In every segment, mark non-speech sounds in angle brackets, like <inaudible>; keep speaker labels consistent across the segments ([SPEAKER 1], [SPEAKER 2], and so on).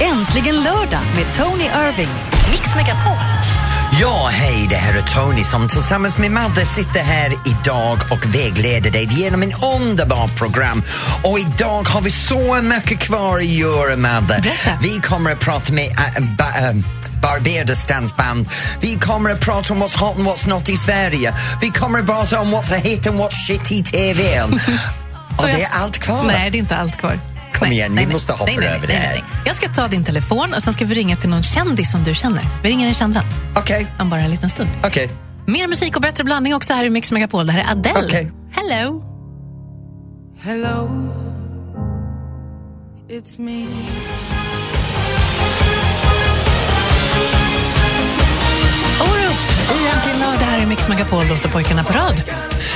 [SPEAKER 1] Äntligen lördag med Tony Irving. Mix Megapol.
[SPEAKER 2] Ja, hej, det här är Tony som tillsammans med Madde sitter här idag och vägleder dig genom en underbar program. Och idag har vi så mycket kvar att göra, Madde.
[SPEAKER 1] Berätta.
[SPEAKER 2] Vi kommer att prata med äh, ba, äh, Barbados dansband. Vi kommer att prata om what's hot and what's not i Sverige. Vi kommer att prata om what's hit and what's shit
[SPEAKER 1] <laughs>
[SPEAKER 2] i TVn. och
[SPEAKER 1] jag-
[SPEAKER 2] det är allt kvar.
[SPEAKER 1] Nej, det är inte allt kvar.
[SPEAKER 2] Kom igen, vi måste hoppa
[SPEAKER 1] nej, nej,
[SPEAKER 2] över
[SPEAKER 1] nej,
[SPEAKER 2] det här.
[SPEAKER 1] nej. Jag ska ta din telefon och sen ska vi ringa till någon kändis som du känner. Vi ringer en känd vän
[SPEAKER 2] Okej,
[SPEAKER 1] om bara en liten stund.
[SPEAKER 2] okej.
[SPEAKER 1] Mer musik och bättre blandning också här i Mix Megapol. Det här är Adele.
[SPEAKER 2] Okej.
[SPEAKER 1] Hello!
[SPEAKER 3] Hello, it's me.
[SPEAKER 1] Orup! i Äntligen lördag här i Mix Megapol. Då står pojkarna på rad.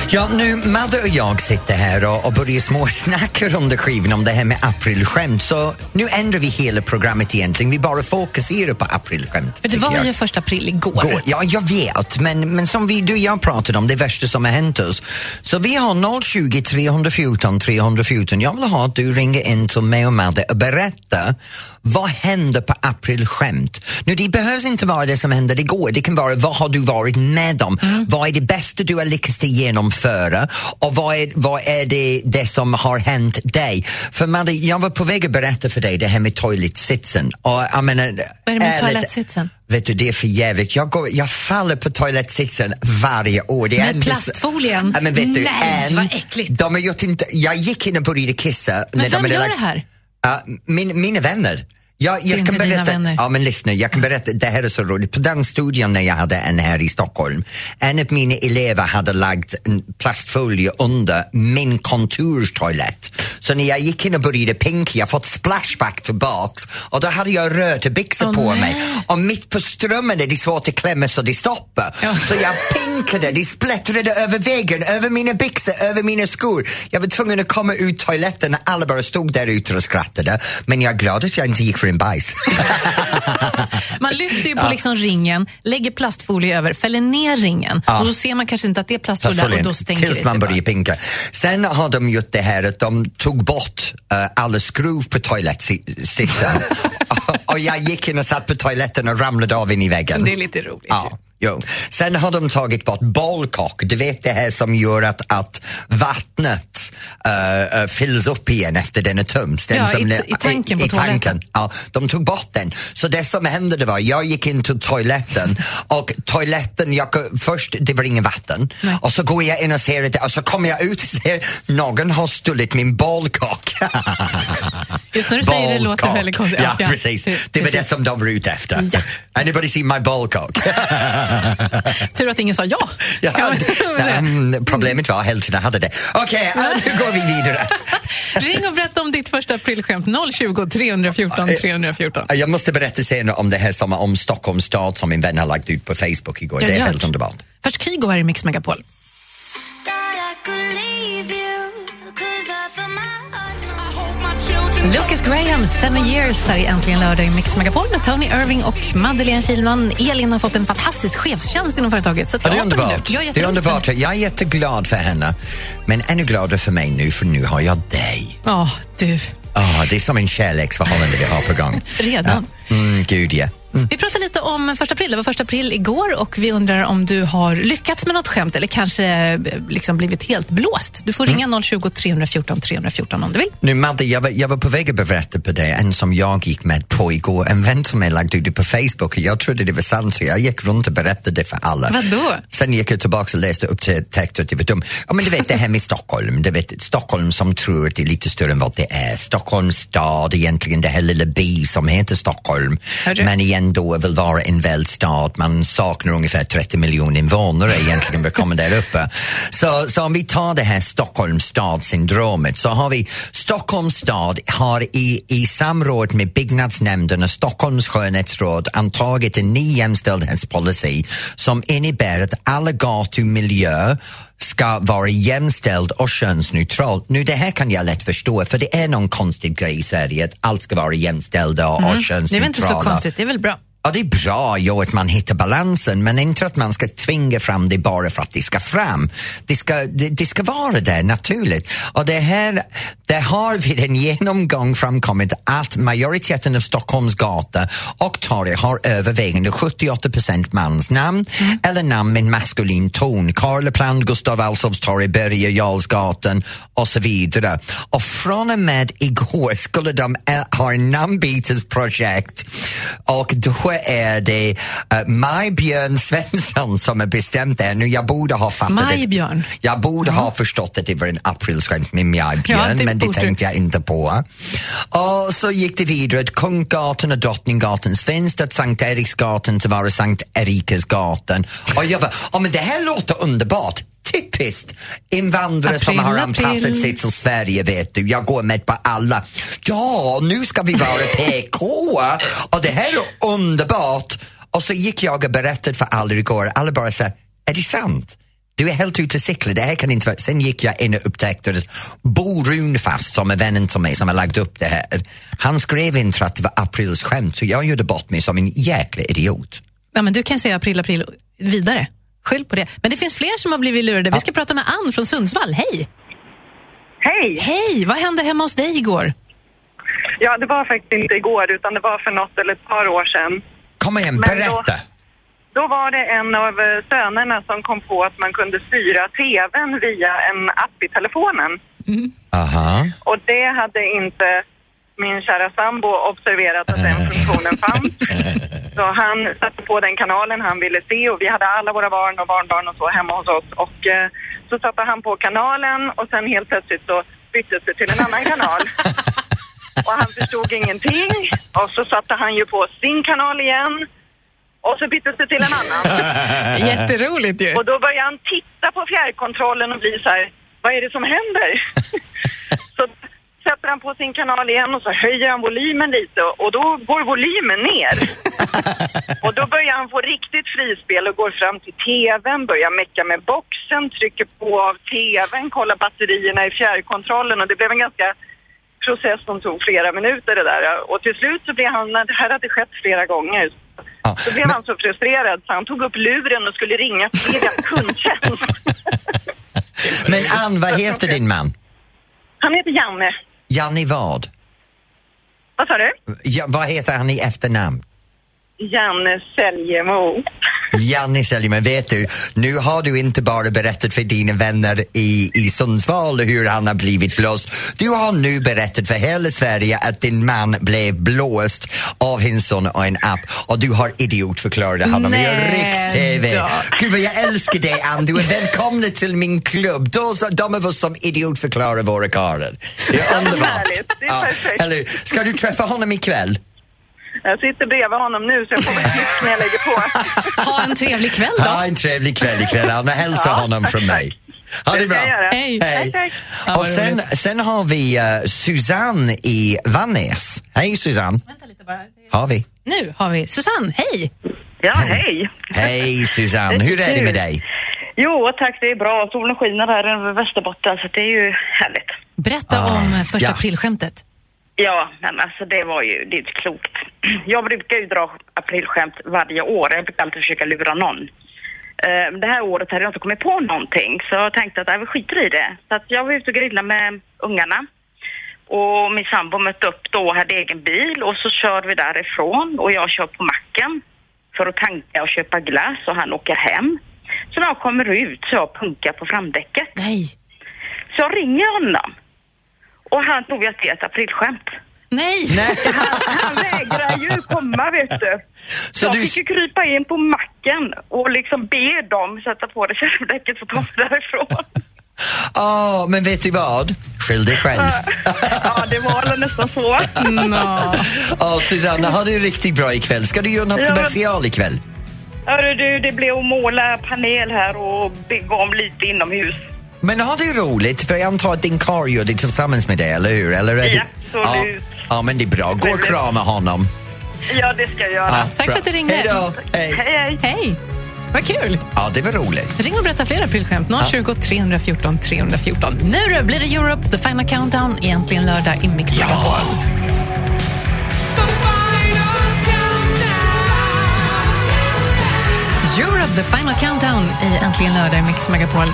[SPEAKER 2] Ja, nu Madde och jag sitter här och, och börjar småsnacka under skivan om det här med aprilskämt. Så nu ändrar vi hela programmet egentligen. Vi bara fokuserar på aprilskämt.
[SPEAKER 1] För det
[SPEAKER 2] tycker
[SPEAKER 1] var
[SPEAKER 2] jag.
[SPEAKER 1] ju första april igår.
[SPEAKER 2] Går. Ja, jag vet, men, men som vi, du och jag pratade om, det värsta som har hänt oss. Så vi har 020 314 314. Jag vill ha att du ringer in till mig och Madde och berätta vad hände på aprilskämt? Nu, det behövs inte vara det som hände igår. Det kan vara vad har du varit med om?
[SPEAKER 1] Mm.
[SPEAKER 2] Vad är det bästa du har lyckats genomföra? Och vad är, vad är det, det som har hänt dig? För Madde, jag var på väg att berätta för dig det här med toalettsitsen. Och jag menar,
[SPEAKER 1] Vad är det med
[SPEAKER 2] ärligt-
[SPEAKER 1] toalettsitsen?
[SPEAKER 2] Vet du, det är för jävligt. Jag, går, jag faller på toalettsitsen varje år. Det är
[SPEAKER 1] Med
[SPEAKER 2] inte så-
[SPEAKER 1] plastfolien?
[SPEAKER 2] Ja, men vet du,
[SPEAKER 1] Nej,
[SPEAKER 2] en,
[SPEAKER 1] vad äckligt.
[SPEAKER 2] De har gjort inte, jag gick in och började kissa.
[SPEAKER 1] Men vem
[SPEAKER 2] de hade
[SPEAKER 1] gör
[SPEAKER 2] lagt-
[SPEAKER 1] det här?
[SPEAKER 2] Ja, min, mina vänner. Jag, jag
[SPEAKER 1] är
[SPEAKER 2] kan
[SPEAKER 1] inte dina
[SPEAKER 2] berätta,
[SPEAKER 1] vänner.
[SPEAKER 2] Ja, men lyssna, jag kan berätta, det här är så roligt. På den studien när jag hade en här i Stockholm, en av mina elever hade lagt en plastfolie under min kontorstoalett. Så när jag gick in och började pinka, jag fått splashback tillbaks och då hade jag rötebyxor
[SPEAKER 1] Åh,
[SPEAKER 2] på
[SPEAKER 1] nej.
[SPEAKER 2] mig och mitt på strömmen är det svårt att klämma så det stoppar. Så jag pinkade, det splättrade över väggen, över mina byxor, över mina skor. Jag var tvungen att komma ut toaletten när alla bara stod där ute och skrattade. Men jag är glad att jag inte gick för en bajs.
[SPEAKER 1] Man lyfter ju på liksom ringen, lägger plastfolie över, fäller ner ringen och då ser man kanske inte att det är plastfolie där och då stänker
[SPEAKER 2] Tills
[SPEAKER 1] det
[SPEAKER 2] man
[SPEAKER 1] typ
[SPEAKER 2] börjar pinka. Sen har de gjort det här att de tog bort eh, alla skruv på toalettsitsen.
[SPEAKER 1] <laughs>
[SPEAKER 2] och, och jag gick in och satt på toaletten och ramlade av in i väggen.
[SPEAKER 1] bara. Det är lite roligt. ju.
[SPEAKER 2] Ja. Jo. Sen har de tagit bort balkock, du vet det här som gör att, att vattnet eh, eh, fylls upp igen efter den är tömts. Den
[SPEAKER 1] Ja,
[SPEAKER 2] som
[SPEAKER 1] i- i tanken på toaletten.
[SPEAKER 2] Ja, de tog bort den. Så det som hände det var, jag gick in
[SPEAKER 1] <laughs>
[SPEAKER 2] till toaletten och toaletten, jag, kom- först det var inget vatten och så går jag in och ser det och så kommer jag ut och ser någon har stulit min balkock.
[SPEAKER 1] <laughs> Just när du säger det låter det
[SPEAKER 2] Balkock.
[SPEAKER 1] väldigt konstigt.
[SPEAKER 2] Ja, precis. Det var det
[SPEAKER 1] precis.
[SPEAKER 2] som de var ute efter.
[SPEAKER 1] Ja.
[SPEAKER 2] Anybody see my balkock?
[SPEAKER 1] Tur att ingen sa ja.
[SPEAKER 2] Ja,
[SPEAKER 1] Ja, <laughs> men-
[SPEAKER 2] det- mm, problemet var hälften hade det. Okej, eh, nu går vi vidare.
[SPEAKER 1] Ring och berätta om ditt första aprilskämt. 020 314 314.
[SPEAKER 2] Jag måste berätta senare om det här som om Stockholms stad som min vän har lagt ut på Facebook igår.
[SPEAKER 1] Ja,
[SPEAKER 2] det är
[SPEAKER 1] gör.
[SPEAKER 2] helt underbart.
[SPEAKER 1] Först Kygo här i Mix Megapol. Lucas Graham, Seven Years, här i Äntligen lördag i Mix Megapol med Tony Irving och Madeleine Kilman. Elin har fått en fantastisk chefstjänst inom företaget. Så att
[SPEAKER 2] Ja, det är
[SPEAKER 1] jag hoppar in nu.
[SPEAKER 2] underbart.
[SPEAKER 1] Jag
[SPEAKER 2] Det är
[SPEAKER 1] jätteroligt.
[SPEAKER 2] underbart. Jag är jätteglad för henne, men ännu gladare för mig nu, för nu har jag dig.
[SPEAKER 1] Ja, du.
[SPEAKER 2] Ah, det är som en kärleksförhållande vi har på gång.
[SPEAKER 1] <laughs> Redan.
[SPEAKER 2] Ja. Mm, gud, ja.
[SPEAKER 1] Vi pratade lite om första april. Det var första april igår och vi undrar om du har lyckats med något skämt eller kanske eh, liksom blivit helt blåst. Du
[SPEAKER 2] Mm.
[SPEAKER 1] får ringa 020 314 314 om du vill.
[SPEAKER 2] Nu Madde, jag var, jag var på väg att berätta på dig en som jag gick med på igår. En vän till mig lagt ut det på Facebook och jag trodde det var sant så jag gick runt och berättade det för alla.
[SPEAKER 1] Vadå?
[SPEAKER 2] Sen gick jag tillbaka och läste upp till text att det var dumt. Ja men du vet det här med Stockholm, du vet Stockholm som tror att det är lite större än vad det är. Stockholms stad egentligen, det här lilla by som heter Stockholm.
[SPEAKER 1] Hörru.
[SPEAKER 2] Men ändå vill vara en välstad. Man saknar ungefär 30 miljoner invånare egentligen för att komma där uppe. Så, så om vi tar det här Stockholms stadssyndromet så har vi Stockholms stad har i, i samråd med byggnadsnämnden och Stockholms skönhetsråd antagit en ny jämställdhetspolicy som innebär att alla gatumiljö ska vara jämställd och könsneutral. Nu det här kan jag lätt förstå för det är någon konstig grej i Sverige att allt ska vara jämställd och, och
[SPEAKER 1] Mm. Det är väl
[SPEAKER 2] könsneutrala.
[SPEAKER 1] inte så konstigt, det är väl bra.
[SPEAKER 2] Ja, det är bra jo, att man hittar balansen men inte att man ska tvinga fram det bara för att det ska fram. Det ska, det, det ska vara där naturligt. Och det här det har vid en genomgång framkommit att majoriteten av Stockholms gator och torg har övervägande 78 procent mansnamn Mm. eller namn med maskulin ton. Karlaplan, Gustav Alsovs torg, Börje Jarlsgatan och så vidare. Och från och med igår skulle de eh, ha en namnbytesprojekt och då är det eh, Maj-Björn Svensson som har bestämt det. Nu, jag borde ha fattat
[SPEAKER 1] Maj-Björn.
[SPEAKER 2] det. Jag borde ha förstått att det var en aprilskämt med Maj-Björn,
[SPEAKER 1] Ja, det
[SPEAKER 2] men det
[SPEAKER 1] borde.
[SPEAKER 2] tänkte jag inte på. Och så gick det vidare att Kungsgatan och Drottninggatan finns det, Sankt Eriksgatan till vara Sankt Erikesgatan. Och jag var, ja men det här låter underbart. Typiskt invandrare
[SPEAKER 1] April,
[SPEAKER 2] som har anpassat
[SPEAKER 1] april.
[SPEAKER 2] sig till Sverige, vet du. Jag går med på alla. Ja, nu ska vi vara PK och det här är underbart. Och så gick jag och berättade för alla igår. Alla bara sa, är det sant? Du är helt ute och cyklar, det här kan inte vara... Sen gick jag in och upptäckte att Bo Runfast, som är vännen till mig som har lagt upp det här, han skrev inte att det var aprilskämt, så jag gjorde bort mig som en jäkla idiot.
[SPEAKER 1] Ja, men du kan säga april, april vidare. Skyll på det. Men det finns fler som har blivit lurade. Vi ska prata med Ann från Sundsvall. Hej!
[SPEAKER 4] Hej!
[SPEAKER 1] Hej! Vad hände hemma hos dig igår?
[SPEAKER 4] Ja, det var faktiskt inte igår utan det var för något eller ett par år sedan.
[SPEAKER 2] Kom igen,
[SPEAKER 4] Men då-
[SPEAKER 2] berätta!
[SPEAKER 4] Då var det en av eh, sönerna som kom på att man kunde styra TVn via en app i telefonen. <laughs>
[SPEAKER 2] Aha.
[SPEAKER 4] Och det hade inte min kära sambo observerat att den funktionen fanns. Så han satte på den kanalen han ville se och vi hade alla våra barn och barnbarn och så hemma hos oss. Och eh, så satte han på kanalen och sen helt plötsligt så byttes det till en annan kanal. Och han förstod ingenting och så satte han ju på sin kanal igen och så byttes det till en annan.
[SPEAKER 1] <laughs> Jätteroligt ju!
[SPEAKER 4] Och då började han titta på fjärrkontrollen och bli så här, vad är det som händer? så sätter han på sin kanal igen och så höjer han volymen lite och då går volymen ner. och då börjar han få riktigt frispel och går fram till TVn, börjar mecka med boxen, trycker på av TVn, kollar batterierna i fjärrkontrollen och det blev en ganska process som tog flera minuter det där. Och till slut så blev han, det här hade skett flera gånger,
[SPEAKER 2] Ja.
[SPEAKER 4] då blev han så frustrerad så han tog upp luren och skulle ringa
[SPEAKER 2] <laughs>
[SPEAKER 4] Svegas kundtjänst.
[SPEAKER 2] Men Ann, vad heter din man?
[SPEAKER 4] Han heter Janne.
[SPEAKER 2] Janni vad?
[SPEAKER 4] Vad sa du?
[SPEAKER 2] Ja, vad heter han i efternamn?
[SPEAKER 4] Janne Säljemo.
[SPEAKER 2] Janni Seljeman, vet du, nu har du inte bara berättat för dina vänner i, i Sundsvall hur han har blivit blåst. Du har nu berättat för hela Sverige att din man blev blåst av sin son och en app och du har idiotförklarat honom i
[SPEAKER 1] Nej
[SPEAKER 2] riks-TV.
[SPEAKER 1] då.
[SPEAKER 2] Gud vad jag älskar dig Ann, du är välkommen till min klubb. Då, så- de av oss som idiotförklarar våra karlar. Det är underbart.
[SPEAKER 4] härligt. Det är perfekt.
[SPEAKER 2] eller hur? Ska du träffa honom ikväll?
[SPEAKER 4] Jag sitter bredvid honom nu så jag får väl klipp när jag lägger på.
[SPEAKER 1] Ha en trevlig kväll <laughs> då!
[SPEAKER 2] Ha en trevlig kväll ikväll, Anna. Hälsa
[SPEAKER 4] Ja,
[SPEAKER 2] honom
[SPEAKER 4] tack,
[SPEAKER 2] från
[SPEAKER 4] tack.
[SPEAKER 2] mig. Ha <laughs> det
[SPEAKER 4] Det ska
[SPEAKER 2] bra.
[SPEAKER 4] jag göra.
[SPEAKER 1] Hej.
[SPEAKER 2] Hej.
[SPEAKER 4] Tack, tack.
[SPEAKER 1] Ja,
[SPEAKER 2] Och
[SPEAKER 1] vad
[SPEAKER 2] sen,
[SPEAKER 1] roligt.
[SPEAKER 2] sen har vi eh, Susanne i Vannes. Hej Susanne,
[SPEAKER 1] Vänta lite bara.
[SPEAKER 2] har vi.
[SPEAKER 1] Nu har vi Susanne, hej!
[SPEAKER 5] Ja, hej!
[SPEAKER 4] <laughs>
[SPEAKER 2] Hej Susanne, hur är det med dig?
[SPEAKER 5] Jo, tack, det är bra. Solen skiner här över Västerbotten, så det är ju härligt.
[SPEAKER 1] Berätta
[SPEAKER 2] Ah,
[SPEAKER 1] om första
[SPEAKER 2] ja.
[SPEAKER 1] aprilskämtet.
[SPEAKER 5] Ja, men alltså det var ju, det är inte klokt. <clears throat> Jag brukar ju dra aprilskämt varje år. Jag brukar alltid försöka lura någon. Eh, men Det här året hade jag inte kommit på någonting, så jag tänkte att jag skiter i det. Så att jag var ute och grillade med ungarna. Och min sambo mötte upp då och hade egen bil och så körde vi därifrån och jag kör på macken för att tanka och köpa glass och han åker hem. Så när jag kommer ut så jag punkar på framdäcket.
[SPEAKER 1] Nej!
[SPEAKER 5] Så jag ringer honom och han tog att det är ett aprilskämt.
[SPEAKER 1] <laughs> Nej!
[SPEAKER 5] Han, han vägrar ju komma vet du.
[SPEAKER 2] Så
[SPEAKER 5] jag
[SPEAKER 2] du-
[SPEAKER 5] fick ju krypa in på macken och liksom be dem sätta på det kärvdäcket för att komma
[SPEAKER 2] <laughs>
[SPEAKER 5] därifrån.
[SPEAKER 2] Åh, men vet du vad? Skyll dig själv.
[SPEAKER 5] ja, det var väl nästan så.
[SPEAKER 2] Mm.
[SPEAKER 1] Nå.
[SPEAKER 2] Åh Susanne, ha det riktigt bra ikväll. Ska du göra något
[SPEAKER 5] Ja, men-
[SPEAKER 2] special ikväll?
[SPEAKER 5] Hörru du, det blev att måla panel här och bygga om lite inomhus.
[SPEAKER 2] Men har du roligt? För jag antar att din karl gör det tillsammans med dig, eller hur? Eller är
[SPEAKER 5] Ja,
[SPEAKER 2] det...
[SPEAKER 5] absolut.
[SPEAKER 2] Ja. ja, men det är bra. Gå och
[SPEAKER 5] Trevligt.
[SPEAKER 2] krama honom.
[SPEAKER 5] Ja, det ska jag göra.
[SPEAKER 2] Ja,
[SPEAKER 1] Tack
[SPEAKER 2] bra.
[SPEAKER 1] för att du ringde.
[SPEAKER 2] Hej då. Hej.
[SPEAKER 5] Hej, hej.
[SPEAKER 1] Hej! Vad kul!
[SPEAKER 2] Ja, det var roligt.
[SPEAKER 1] Ring och berätta fler aprilskämt. 020 314 314. Nu då blir det Europe, the final countdown, egentligen lördag i Mix Megapol.
[SPEAKER 3] The final countdown.
[SPEAKER 1] The Final Countdown i Äntligen lördag i Mix Megapol.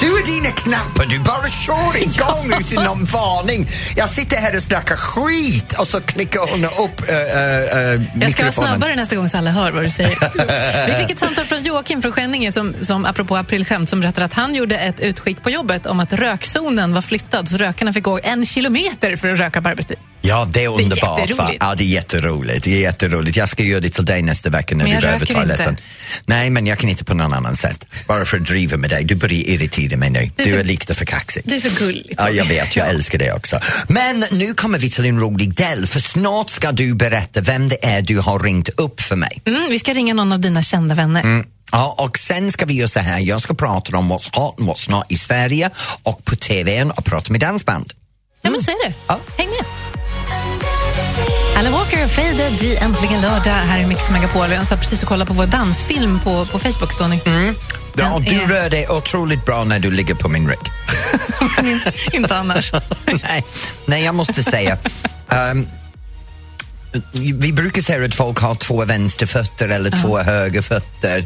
[SPEAKER 2] Du och dina knappar, du bara kör igång utan någon varning. Jag sitter här och snackar skit och så klickar hon upp äh, äh,
[SPEAKER 1] Jag ska vara snabbare nästa gång så alla hör vad du
[SPEAKER 2] <laughs>
[SPEAKER 1] säger. Vi fick ett samtal från Joakim från Skänninge som, som apropå aprilskämt som berättade att han gjorde ett utskick på jobbet om att rökzonen var flyttad så rökarna fick gå en kilometer för att röka på arbetstid.
[SPEAKER 2] Ja, det är underbart. va?
[SPEAKER 1] jätteroligt.
[SPEAKER 2] Ja, det är jätteroligt. Det är jätteroligt. Jag ska göra det till dig nästa vecka när
[SPEAKER 1] Men
[SPEAKER 2] vi
[SPEAKER 1] jag
[SPEAKER 2] behöver
[SPEAKER 1] röker
[SPEAKER 2] toaletten.
[SPEAKER 1] inte.
[SPEAKER 2] Nej, men jag kan inte på någon annan sätt. Bara för att driva med dig. Du börjar irritera mig nu.
[SPEAKER 1] är
[SPEAKER 2] du
[SPEAKER 1] så-
[SPEAKER 2] är lite för kaxig.
[SPEAKER 1] Det är så gulligt.
[SPEAKER 2] Ja, jag vet. Jag älskar det också. Men nu kommer vi till en rolig del, för snart ska du berätta vem det är du har ringt upp för mig.
[SPEAKER 1] Mm, vi ska ringa någon av dina kända vänner.
[SPEAKER 2] Mm. Ja, och sen ska vi göra så här, jag ska prata om what's hot and what's not i Sverige och på TVn och prata med dansband.
[SPEAKER 1] Ja, men så är det.
[SPEAKER 2] Ja.
[SPEAKER 1] Häng med. Alan Walker och Faded i Äntligen lördag här i Mix Megapol. Jag satt precis och kollade på vår dansfilm på, på Facebook, Tony.
[SPEAKER 2] Mm.
[SPEAKER 1] <laughs>
[SPEAKER 2] Ja, och
[SPEAKER 1] Den
[SPEAKER 2] du
[SPEAKER 1] är-
[SPEAKER 2] rör dig otroligt bra när du ligger på min rygg.
[SPEAKER 1] Inte annars.
[SPEAKER 2] <laughs> nej, nej, jag måste säga. ehm, vi brukar säga att folk har två vänsterfötter eller två högerfötter.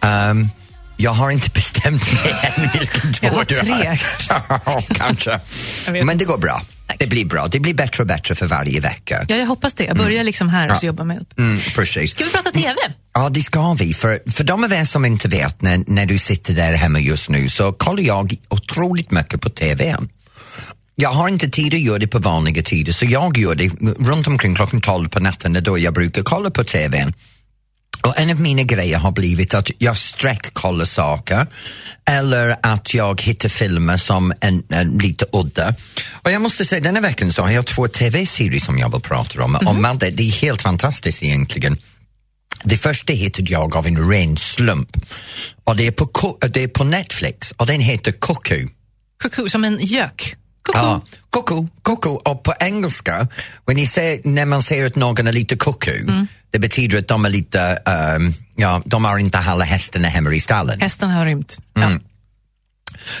[SPEAKER 2] Ehm, jag har inte bestämt mig <laughs> än vilken två
[SPEAKER 1] Jag har
[SPEAKER 2] du
[SPEAKER 1] tre,
[SPEAKER 2] <laughs> har. kanske.
[SPEAKER 1] Jag vet
[SPEAKER 2] Men det går bra.
[SPEAKER 1] Tack.
[SPEAKER 2] Det blir bra. Det blir bättre och bättre för varje vecka.
[SPEAKER 1] Ja, jag hoppas det. Jag börjar liksom här och så jobbar jag mig upp.
[SPEAKER 2] Mm, precis.
[SPEAKER 1] Ska vi prata TV?
[SPEAKER 2] Ja, det ska vi. För, för de av er som inte vet, när, när du sitter där hemma just nu så kollar jag otroligt mycket på TV. Jag har inte tid att göra det på vanliga tider så jag gör det runt omkring klockan 12 på natten, det är då jag brukar kolla på TV. Och en av mina grejer har blivit att jag sträckkollar saker eller att jag hittar filmer som en, en lite udda. Och jag måste säga, denna veckan så har jag två TV-serier som jag vill prata om. Och Madde, det är helt fantastiskt egentligen. Det första hittade jag av en ren slump. Och det är på, Ko- det är på Netflix och den heter Cuckoo.
[SPEAKER 1] Kucku, som en gök. Kucku.
[SPEAKER 2] Ja, Cuckoo, cuckoo. Och på engelska, when you say, när man säger att någon är lite kucko, det betyder att de är lite, ehm, ja, de har inte alla hästarna hemma i stallen.
[SPEAKER 1] Hästen har rymt. Ja.
[SPEAKER 2] Mm.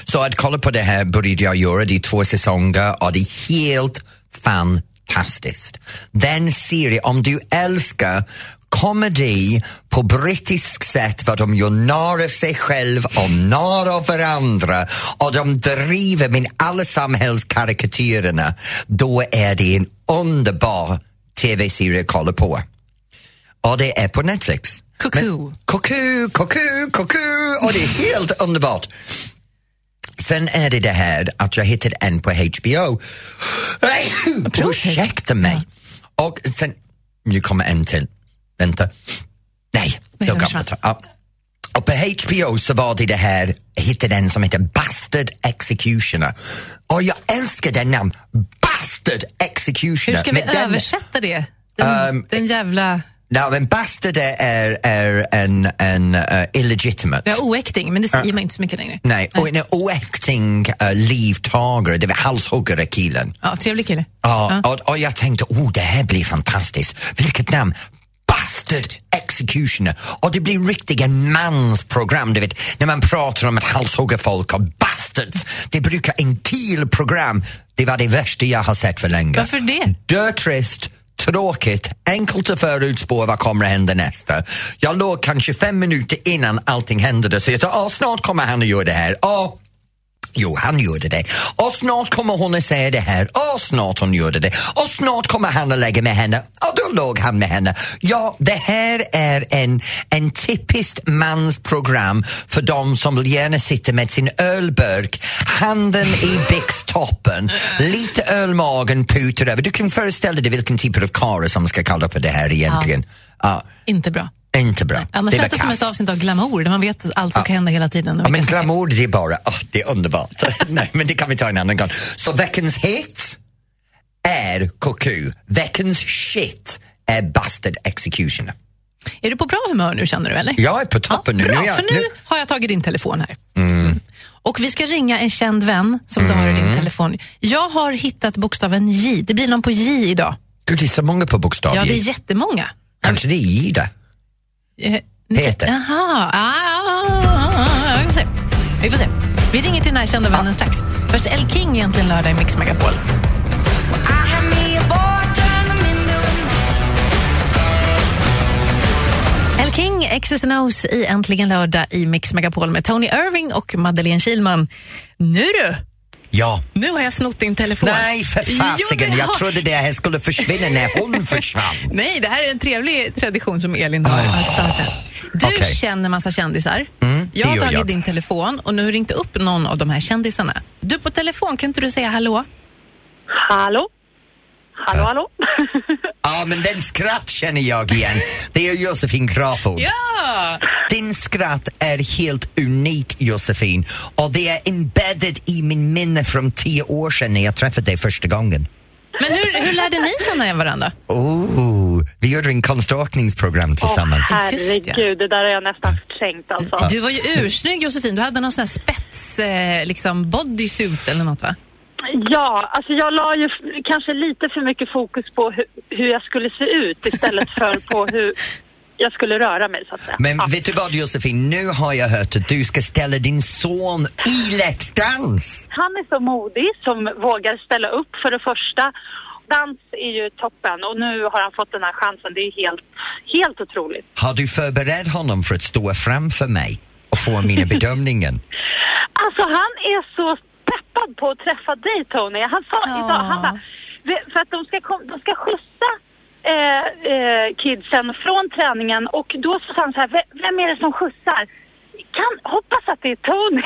[SPEAKER 2] Så att kolla på det här började jag göra, det är två säsonger och det är helt fantastiskt. Den serien, om du älskar komedi på brittisk sätt, vad de gör narr av sig själv och narr av varandra och de driver med alla samhällskarikatyrerna, då är det en underbar tv-serie att kolla på. Och det är på Netflix.
[SPEAKER 1] Cuckoo.
[SPEAKER 2] Men- Cuckoo, cuckoo, cuckoo! Och det är helt underbart. Sen är det det här att jag hittade en på HBO. Ursäkta mig. Och sen, nu kommer en till. Vänta. Nej,
[SPEAKER 1] den
[SPEAKER 2] då kan
[SPEAKER 1] försvann.
[SPEAKER 2] jag ta. Ja. Och på HBO så var det det här, jag hittade en som heter Bastard Executioner. Och jag älskar den namn, Bastard Executioner.
[SPEAKER 1] Hur ska vi
[SPEAKER 2] Men den- Ehm,
[SPEAKER 1] översätta det? Den, den jävla...
[SPEAKER 2] Nej, men bastard är, är, är en, en uh, illegitimate.
[SPEAKER 1] Vi har oäkting, men det säger man inte så mycket längre.
[SPEAKER 2] Nej, och en oäkting uh, livtagare, det var halshuggare killen.
[SPEAKER 1] Ja, trevlig kille.
[SPEAKER 2] Ja, och, och jag tänkte, oh det här blir fantastiskt. Vilket namn! Bastard Executioner! Och det blir riktigen mansprogram, du vet, när man pratar om att halshugga folk och bastards. Det brukar en killprogram, det var det värsta jag har sett för länge.
[SPEAKER 1] Varför det?
[SPEAKER 2] Dötrist, tråkigt, enkelt att förutspå vad kommer att hända nästa. Jag låg kanske fem minuter innan allting hände så jag sa, "Åh, snart kommer han att göra det här. Åh, Jo, han gjorde det. Och snart kommer hon att säga det här. Och snart hon gjorde det. Och snart kommer han att lägga med henne. Och då låg han med henne. Ja, det här är en, en typiskt mansprogram för de som vill gärna sitta med sin ölburk, handen i byxtoppen, lite ölmagen putar över. Du kan föreställa dig vilken typ av karl som ska kolla på det här egentligen. Ja.
[SPEAKER 1] Inte bra.
[SPEAKER 2] inte bra.
[SPEAKER 1] Annars
[SPEAKER 2] det var
[SPEAKER 1] känns det som
[SPEAKER 2] kass.
[SPEAKER 1] ett avsnitt av glamour, där man vet att allt som ska hända hela tiden. och
[SPEAKER 2] Ja, men
[SPEAKER 1] vilka som ska-
[SPEAKER 2] glamour det är bara, åh, det
[SPEAKER 1] <laughs>
[SPEAKER 2] är underbart. Nej, men det kan vi ta en annan gång. Så veckans hit är Cuckoo. Veckans shit är Bastard Executioner.
[SPEAKER 1] Är du på bra humör nu känner du eller?
[SPEAKER 2] Jag är på toppen nu.
[SPEAKER 1] Bra,
[SPEAKER 2] är jag,
[SPEAKER 1] för nu har jag tagit din telefon här. Mm. Och vi ska ringa en känd vän som du har i
[SPEAKER 2] Mm.
[SPEAKER 1] din telefon. Jag har hittat bokstaven J. Det blir någon på J idag.
[SPEAKER 2] Gud, det är så många på bokstav.
[SPEAKER 1] Ja, det är jättemånga.
[SPEAKER 2] Kanske det är Ida.
[SPEAKER 1] Eh,
[SPEAKER 2] Peter.
[SPEAKER 1] Jaha. Ah, ah, ah, ah. Vi får se. Vi får se. Vi ringer till den här kända vännen strax. Först El King egentligen lördag i Mix Megapol. El King, X's and O's i Äntligen lördag i Mix Megapol med Tony Irving och Madeleine Kilman. Nu du!
[SPEAKER 2] Ja.
[SPEAKER 1] Nu har jag snott din telefon.
[SPEAKER 2] Nej, för
[SPEAKER 1] Jo, det
[SPEAKER 2] fasiken! Jag
[SPEAKER 1] har-
[SPEAKER 2] trodde det här skulle försvinna när
[SPEAKER 1] <laughs>
[SPEAKER 2] hon försvann.
[SPEAKER 1] Nej, det här är en trevlig tradition som Elin har, har startat. Du
[SPEAKER 2] Okej. Mm,
[SPEAKER 1] känner massa kändisar. jag
[SPEAKER 2] det
[SPEAKER 1] har
[SPEAKER 2] gör
[SPEAKER 1] tagit
[SPEAKER 2] jag.
[SPEAKER 1] din telefon och nu har ringt upp någon av de här kändisarna. Du på telefon, kan inte du säga hallå?
[SPEAKER 6] Hallå? Hallå, hallå?
[SPEAKER 2] Ja, men den skratt känner jag igen. Det är Josefin Crafoord.
[SPEAKER 1] Ja!
[SPEAKER 2] Din skratt är helt unik, Josefin. Och det är embedded i min minne från tio år sedan när jag träffade dig första gången.
[SPEAKER 1] Men hur, hur lärde ni känna varandra?
[SPEAKER 2] Oh, vi gjorde en konståkningsprogram tillsammans.
[SPEAKER 6] Åh,
[SPEAKER 1] Just det.
[SPEAKER 6] herregud, det där har jag nästan förträngt alltså.
[SPEAKER 1] Du var ju ursnygg Josefin, du hade någon sån här spets, eh, liksom bodysuit eller något va?
[SPEAKER 6] Ja, alltså jag la ju f- kanske lite för mycket fokus på hu- hur jag skulle se ut istället för på hur jag skulle röra mig så att säga.
[SPEAKER 2] Men
[SPEAKER 6] ja.
[SPEAKER 2] vet du vad Josefin, nu har jag hört att du ska ställa din son i Let's Dance.
[SPEAKER 6] Han är så modig som vågar ställa upp för det första. Dans är ju toppen och nu har han fått den här chansen. Det är helt, helt otroligt.
[SPEAKER 2] Har du förberett honom för att stå framför mig och få
[SPEAKER 6] <laughs>
[SPEAKER 2] mina bedömningar?
[SPEAKER 6] Alltså han är så peppad på att träffa dig Tony. Han sa
[SPEAKER 1] Ja.
[SPEAKER 6] idag, han bara, "Vi- för att de ska, kom, de ska skjutsa eh, eh, kidsen från träningen och då så sa han så här, "Ve- vem är det som skjutsar? Kan, hoppas att det är Tony.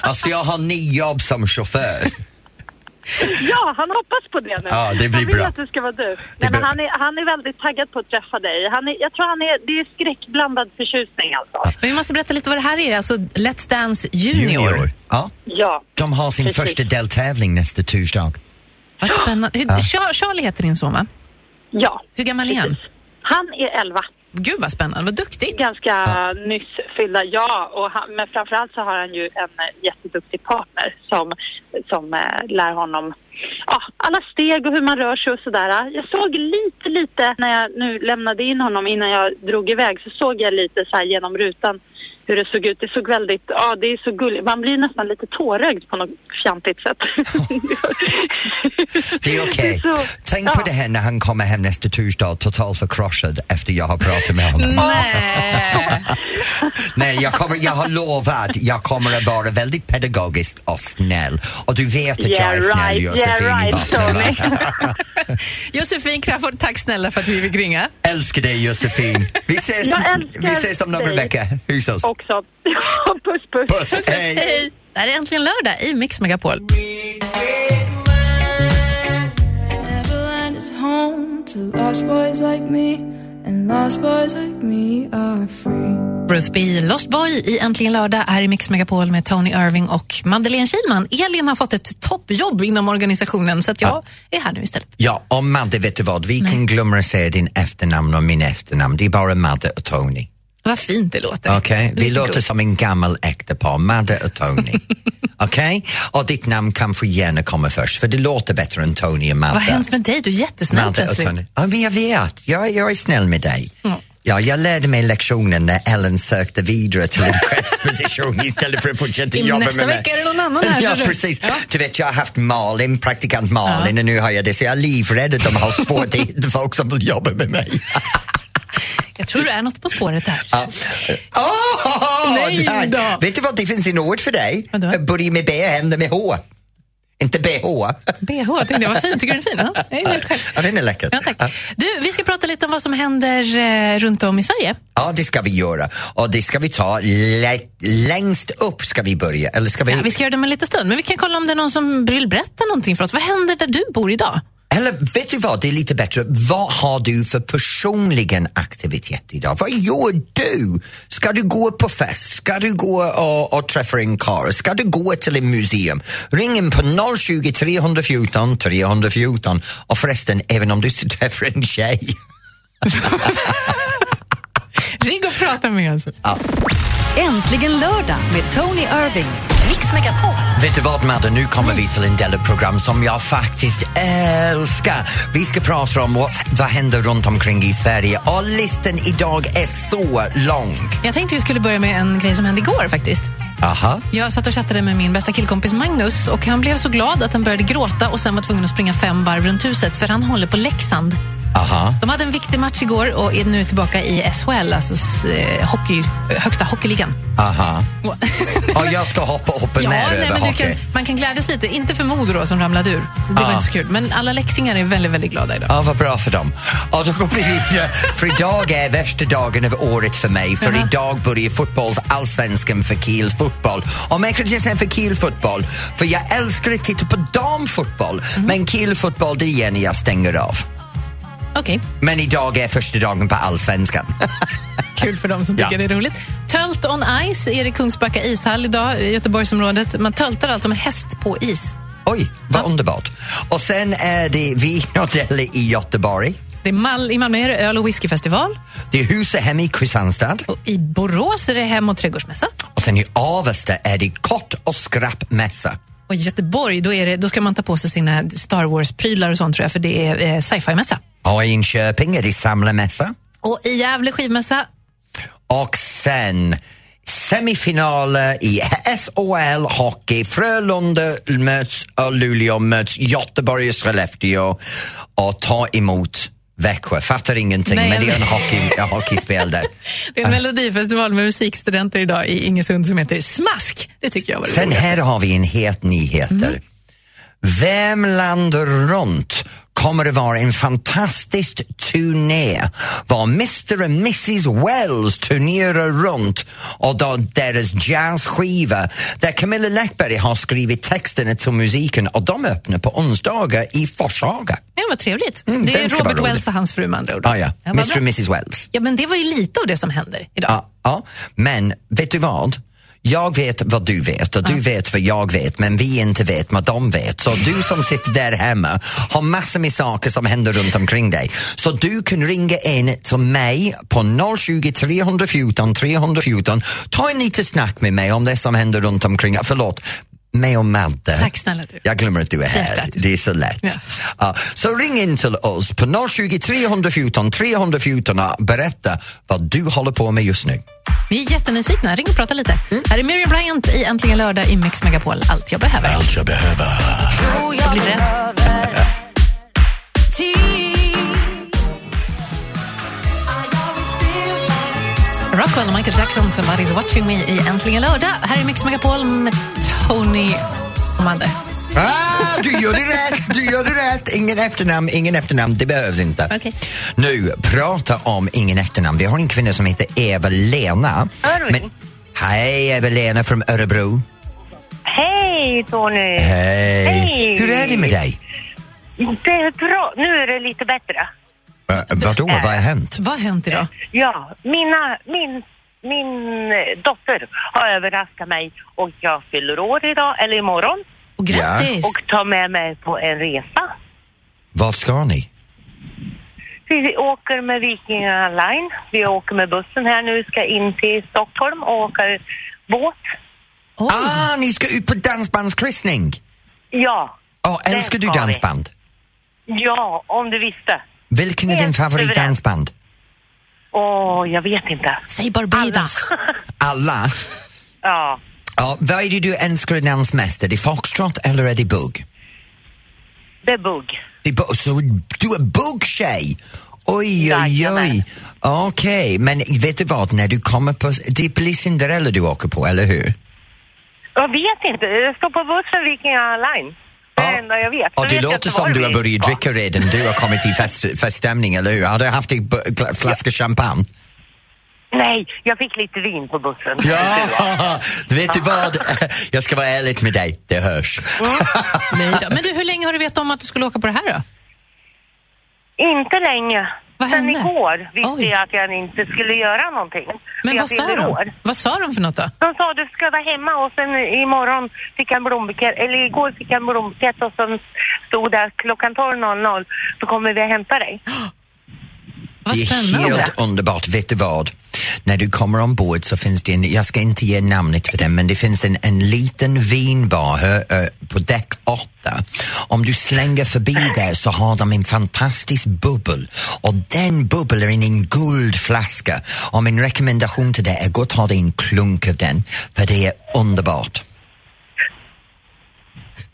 [SPEAKER 2] Alltså jag har nio jobb som chaufför.
[SPEAKER 6] ja, han hoppas på det nu.
[SPEAKER 2] Ja, det blir
[SPEAKER 6] han vill
[SPEAKER 2] bra.
[SPEAKER 6] att det ska vara du. Nej, men
[SPEAKER 2] blir-
[SPEAKER 6] han, är, han är väldigt taggad på att träffa dig. Han är, jag tror han är, det är skräckblandad förtjusning alltså.
[SPEAKER 1] Men vi måste berätta lite vad det här är, alltså Let's Dance Junior.
[SPEAKER 2] Ja,
[SPEAKER 6] Ja.
[SPEAKER 2] de har sin
[SPEAKER 6] Precis.
[SPEAKER 2] första deltävling nästa torsdag.
[SPEAKER 1] Vad spännande. Hur, Char- Charlie heter din son va?
[SPEAKER 6] Ja.
[SPEAKER 1] Hur gammal är han?
[SPEAKER 6] precis. Han är 11.
[SPEAKER 1] Gud vad spännande, vad duktigt.
[SPEAKER 6] ganska nyss fyllda, ja. Och han, men framförallt så har han ju en eh, jätteduktig partner som, som eh, lär honom ja, alla steg och hur man rör sig och sådär. Jag såg lite, lite när jag nu lämnade in honom innan jag drog iväg så såg jag lite så här genom rutan hur det såg ut. Det såg väldigt, ja det är så gulligt. Man blir nästan lite tårögd på något fjantigt sätt.
[SPEAKER 2] <laughs> Det är okej.
[SPEAKER 6] Det är <laughs> så-
[SPEAKER 2] Tänk på
[SPEAKER 6] ja.
[SPEAKER 2] det här när han kommer hem nästa torsdag totalt förkrossad efter jag har pratat med honom.
[SPEAKER 1] Nej.
[SPEAKER 2] Nej, jag, kommer, jag har lovat jag kommer att vara väldigt pedagogisk och snäll. Och du vet att jag är snäll, Josefin.
[SPEAKER 6] yeah
[SPEAKER 2] i
[SPEAKER 6] right,
[SPEAKER 2] botten, va?
[SPEAKER 6] Tony.
[SPEAKER 1] Josefin Crafoord, tack snälla för att vi fick ringa.
[SPEAKER 2] Älskar dig, Josefin.
[SPEAKER 6] <laughs>
[SPEAKER 2] Vi ses,
[SPEAKER 6] Jag älskar
[SPEAKER 2] vi ses om några
[SPEAKER 6] dig.
[SPEAKER 2] veckor. Hus oss.
[SPEAKER 6] Också. <laughs> puss, puss. <laughs>
[SPEAKER 2] Puss, hej!
[SPEAKER 1] Hej! Det här är äntligen lördag i Mix Megapol.
[SPEAKER 7] Neverland is home to lost boys like me, and lost boys like me are free.
[SPEAKER 1] Bruce B. Lost Boy i Äntligen lördag här i Mix Megapol med Tony Irving och Madeleine Kilman. Elin har fått ett toppjobb inom organisationen så att jag är här nu istället.
[SPEAKER 2] Ja, och Madde, vet du vad? Vi kan glömma att säga din efternamn och min efternamn. Det är bara Madde och Tony.
[SPEAKER 1] Vad fint det låter.
[SPEAKER 2] Okej, vi
[SPEAKER 1] Lite
[SPEAKER 2] låter
[SPEAKER 1] gulligt.
[SPEAKER 2] som en gammal äktepar, Madde
[SPEAKER 1] <laughs>
[SPEAKER 2] och Tony. Okej? Och ditt namn kan få gärna komma först, för det låter bättre än Tony och Madde.
[SPEAKER 1] Vad har hänt med dig? Du är jättesnäll
[SPEAKER 2] Madde och
[SPEAKER 1] plötsligt. Mm.
[SPEAKER 2] Tony. Ja, men jag vet, jag, jag är snäll med dig. Ja, jag lärde mig lektionen när Ellen sökte vidare till en chefsposition istället för att fortsätta
[SPEAKER 1] In-
[SPEAKER 2] jobba med
[SPEAKER 1] nästa
[SPEAKER 2] mig.
[SPEAKER 1] vecka är det någon annan här,
[SPEAKER 2] <laughs> Ja,
[SPEAKER 1] så du-
[SPEAKER 2] precis. Du vet, jag har haft Malin, praktikant Malin, och nu har jag det, så jag är livrädd att de har svårt att hitta folk som vill jobba med mig.
[SPEAKER 1] Jag tror du är något på spåret där.
[SPEAKER 2] Åh!
[SPEAKER 1] Nej
[SPEAKER 2] Där.
[SPEAKER 1] då.
[SPEAKER 2] Ah, Vet du vad, det finns en ord för dig. Eh,
[SPEAKER 1] Vadå?
[SPEAKER 2] Börja med B och händer med H. Inte BH.
[SPEAKER 1] <laughs> BH, tänkte jag. Vad fin. Tycker du den är fin? Ja, jag är helt själv.
[SPEAKER 2] Ja, den är läcker.
[SPEAKER 1] Ja, tack. Du, vi ska prata lite om vad som händer eh, runt om i Sverige.
[SPEAKER 2] Ja, det ska vi göra. Och det ska vi ta lä- längst upp ska vi börja. Eller ska vi...
[SPEAKER 1] Ja, vi ska göra det om en liten stund, men vi kan kolla om det är någon som vill berätta någonting för oss. Vad händer där du bor idag?
[SPEAKER 2] Eller vet du vad, det är lite bättre. Vad har du för personligen aktivitet idag? Vad gör du? Ska du gå på fest? Ska du gå och, och träffa en karl? Ska du gå till en museum? Ring in på 020 314 314 och förresten, även om du <laughs> träffar en tjej.
[SPEAKER 1] Ring och prata med oss.
[SPEAKER 8] Äntligen lördag med Tony Irving. Mix Megapol. Mm.
[SPEAKER 2] Vet du vad Madde, nu kommer vi till en del av program som jag faktiskt älskar. Vi ska prata om vad, vad händer runt omkring i Sverige och listan idag är så lång.
[SPEAKER 1] Jag tänkte vi skulle börja med en grej som hände igår faktiskt.
[SPEAKER 2] Aha.
[SPEAKER 1] Jag satt och chattade med min bästa killkompis Magnus och han blev så glad att han började gråta och sen var tvungen att springa fem varv runt huset för han håller på Leksand.
[SPEAKER 2] Aha.
[SPEAKER 1] De hade en viktig match igår och är nu tillbaka i SHL, alltså s- eh, hockey, högsta hockeyligan.
[SPEAKER 2] Aha.
[SPEAKER 1] Och-
[SPEAKER 2] Ja, jag ska hoppa upp
[SPEAKER 1] <laughs>
[SPEAKER 2] och
[SPEAKER 1] Ja,
[SPEAKER 2] ner
[SPEAKER 1] nej,
[SPEAKER 2] över
[SPEAKER 1] men du kan,
[SPEAKER 2] hockey.
[SPEAKER 1] man kan glädjas lite. Inte för Modo då, som ramlade ur. Det var
[SPEAKER 2] Ah.
[SPEAKER 1] inte så kul. Men alla läxingar är väldigt, väldigt glada idag.
[SPEAKER 2] Ja, vad bra för dem. Ja, då går vi vidare, för idag är värsta dagen av året för mig för idag börjar fotbollsallsvenskan för Kielfotboll. Och mer kan jag säga för Kielfotboll, för jag älskar att titta på damfotboll men Kielfotboll, det är igen jag stänger av.
[SPEAKER 1] Okej,
[SPEAKER 2] Men idag är första dagen på allsvenskan. <laughs>
[SPEAKER 1] kul för dem som tycker
[SPEAKER 2] Ja.
[SPEAKER 1] det är roligt. Tölt on Ice är det Kungsbacka ishall idag i Göteborgsområdet. Man töltar alltså med häst på is.
[SPEAKER 2] Oj, vad underbart. Och sen är det Vinodelli i Göteborg.
[SPEAKER 1] Det är Mal- I Malmö är det öl och whiskyfestival.
[SPEAKER 2] Det är Huset hem i Kristianstad.
[SPEAKER 1] Och I Borås är det hem och trädgårdsmässa.
[SPEAKER 2] Och sen i Avesta är det kort och skrappmässa.
[SPEAKER 1] Och i Göteborg då, är det, då ska man ta på sig sina Star Wars-prylar och sånt tror jag, för det är eh, sci-fi-mässa.
[SPEAKER 2] Och i Enköping är det samlarmässa.
[SPEAKER 1] Och i Gävle skivmässa.
[SPEAKER 2] Och sen semifinaler i SHL hockey. Frölunda möts och Luleå möts Göteborg och Skellefteå och tar emot Växjö. Fattar ingenting,
[SPEAKER 1] Nej,
[SPEAKER 2] men det är en
[SPEAKER 1] jag-
[SPEAKER 2] hockey,
[SPEAKER 1] <laughs>
[SPEAKER 2] en hockeyspel där.
[SPEAKER 1] Det
[SPEAKER 2] Äh.
[SPEAKER 1] är en melodifestival med musikstudenter idag i Ingesund som heter Smask. Det tycker jag var det
[SPEAKER 2] Sen
[SPEAKER 1] roligaste.
[SPEAKER 2] här har vi en het nyheter. Vem landar runt kommer att vara en fantastisk turné var Mr och Mrs Wells turnerar runt och då deras jazzskiva där Camilla Läckberg har skrivit texterna till musiken och de öppnar på onsdagar i Forshaga.
[SPEAKER 1] Ja, vad trevligt.
[SPEAKER 2] Mm,
[SPEAKER 1] det
[SPEAKER 2] den
[SPEAKER 1] är
[SPEAKER 2] ska vara
[SPEAKER 1] Robert
[SPEAKER 2] rolig.
[SPEAKER 1] Wells och hans fru med andra ord.
[SPEAKER 2] Ah, ja.
[SPEAKER 1] vad
[SPEAKER 2] Mr och Ah.
[SPEAKER 1] bra.
[SPEAKER 2] Mrs Wells.
[SPEAKER 1] Ja, men det var ju lite av det som händer idag.
[SPEAKER 2] Ja, ja. Men vet du vad? Jag vet vad du vet och du vet vad jag vet men vi inte vet vad de vet. Så du som sitter där hemma har massor med saker som händer runt omkring dig. Så du kan ringa in till mig på 020 314 314. Ta en liten snack med mig om det som händer runt omkring. Förlåt, mig och Madde.
[SPEAKER 1] Tack snälla du.
[SPEAKER 2] Jag glömmer att du är här.
[SPEAKER 1] Hjärtat.
[SPEAKER 2] Det är så lätt.
[SPEAKER 1] Ja.
[SPEAKER 2] Ja, så ring in till oss på 020 314 314 och berätta vad du håller på med just nu.
[SPEAKER 1] Vi är jättenyfikna. Ring och prata lite.
[SPEAKER 2] Mm.
[SPEAKER 1] Här är Miriam Bryant i Äntligen lördag i Mix Megapol. Allt jag behöver.
[SPEAKER 9] Allt jag behöver.
[SPEAKER 1] Jag blir rädd. Rockwell och Michael Jackson, Somebody's watching me i Äntligen lördag. Här är Mix Megapol med Tony och Madde.
[SPEAKER 2] Ah, du gör det rätt, du gör det rätt. Ingen efternamn, ingen efternamn, det behövs inte.
[SPEAKER 1] Okej.
[SPEAKER 2] Nu, prata om ingen efternamn. Vi har en kvinna som heter Eva-Lena.
[SPEAKER 10] Örving.
[SPEAKER 2] Hej Eva-Lena från Örebro.
[SPEAKER 10] Hej Tony!
[SPEAKER 2] Hej.
[SPEAKER 10] Hej.
[SPEAKER 2] Hur är det med dig?
[SPEAKER 10] Det är bra. Nu är det lite bättre.
[SPEAKER 2] Uh, vadå, vad har hänt?
[SPEAKER 1] Vad har hänt idag?
[SPEAKER 10] Ja, mina, min, min eh, dotter har överraskat mig och jag fyller år idag, eller imorgon,
[SPEAKER 1] Och grattis!
[SPEAKER 10] och tar med mig på en resa.
[SPEAKER 2] Vad ska ni?
[SPEAKER 10] Vi åker med Vikingarna Line. Vi åker med bussen här nu, ska in till Stockholm och åker båt.
[SPEAKER 1] Oj.
[SPEAKER 2] Ah, ni ska ut på dansbandskryssning!
[SPEAKER 10] Ja,
[SPEAKER 2] Ja,
[SPEAKER 10] Det
[SPEAKER 2] älskar du
[SPEAKER 10] ska vi.
[SPEAKER 2] dansband?
[SPEAKER 10] ja, om du visste.
[SPEAKER 2] Vilken är
[SPEAKER 10] Helt
[SPEAKER 2] din favoritdansband?
[SPEAKER 10] Åh, jag vet inte.
[SPEAKER 1] Säg Barbados.
[SPEAKER 2] Alla?
[SPEAKER 10] <laughs> Ja.
[SPEAKER 2] Ja, vad är det du älskar att dansa mest? Är det foxtrot eller är det bugg?
[SPEAKER 10] Det är bugg.
[SPEAKER 2] Det är bu- så du är buggtjej? Oj, oj, oj.
[SPEAKER 10] Jajamän.
[SPEAKER 2] Okej, men vet du vad, när du kommer på... Det blir Cinderella du åker på, eller hur?
[SPEAKER 10] Jag vet inte. Jag står på bussen Vikingarna Line. Det är
[SPEAKER 2] Ja.
[SPEAKER 10] det enda jag vet.
[SPEAKER 2] Och
[SPEAKER 10] Jag
[SPEAKER 2] det
[SPEAKER 10] vet
[SPEAKER 2] låter
[SPEAKER 10] inte
[SPEAKER 2] som
[SPEAKER 10] var
[SPEAKER 2] du har
[SPEAKER 10] vi
[SPEAKER 2] börjat
[SPEAKER 10] ska.
[SPEAKER 2] dricka redan, du har kommit i fest, feststämning, eller hur? Har du haft en bu- gla- flaska champagne?
[SPEAKER 10] Nej, jag fick lite vin på bussen.
[SPEAKER 2] Ja, <laughs> vet du vad? Jag ska vara ärlig med dig, det hörs.
[SPEAKER 10] Mm.
[SPEAKER 1] Nej då. Men du, hur länge har du vetat om att du skulle åka på det här då?
[SPEAKER 10] Inte länge.
[SPEAKER 1] Vad
[SPEAKER 10] Sen
[SPEAKER 1] hände?
[SPEAKER 10] igår visste
[SPEAKER 1] Oj.
[SPEAKER 10] jag att jag inte skulle göra någonting.
[SPEAKER 1] Men
[SPEAKER 10] jag
[SPEAKER 1] vad sa
[SPEAKER 10] fyller
[SPEAKER 1] de?
[SPEAKER 10] år.
[SPEAKER 1] Vad sa de för något då?
[SPEAKER 10] De sa du ska vara hemma och sen imorgon fick jag en blombukett, eller igår fick jag en blombukett och sen stod det att klockan 12.00 så kommer vi att hämta dig.
[SPEAKER 1] Vad
[SPEAKER 2] Det är
[SPEAKER 1] spännande.
[SPEAKER 2] helt underbart. Vet du vad? När du kommer ombord så finns det en, jag ska inte ge namnet för den, men det finns en, en liten vinbar hö, ö, på däck 8. Om du slänger förbi där så har de en fantastisk bubbel och den bubbel är i en guldflaska. Och min rekommendation till dig är gå och ta dig en klunk av den, för det är underbart.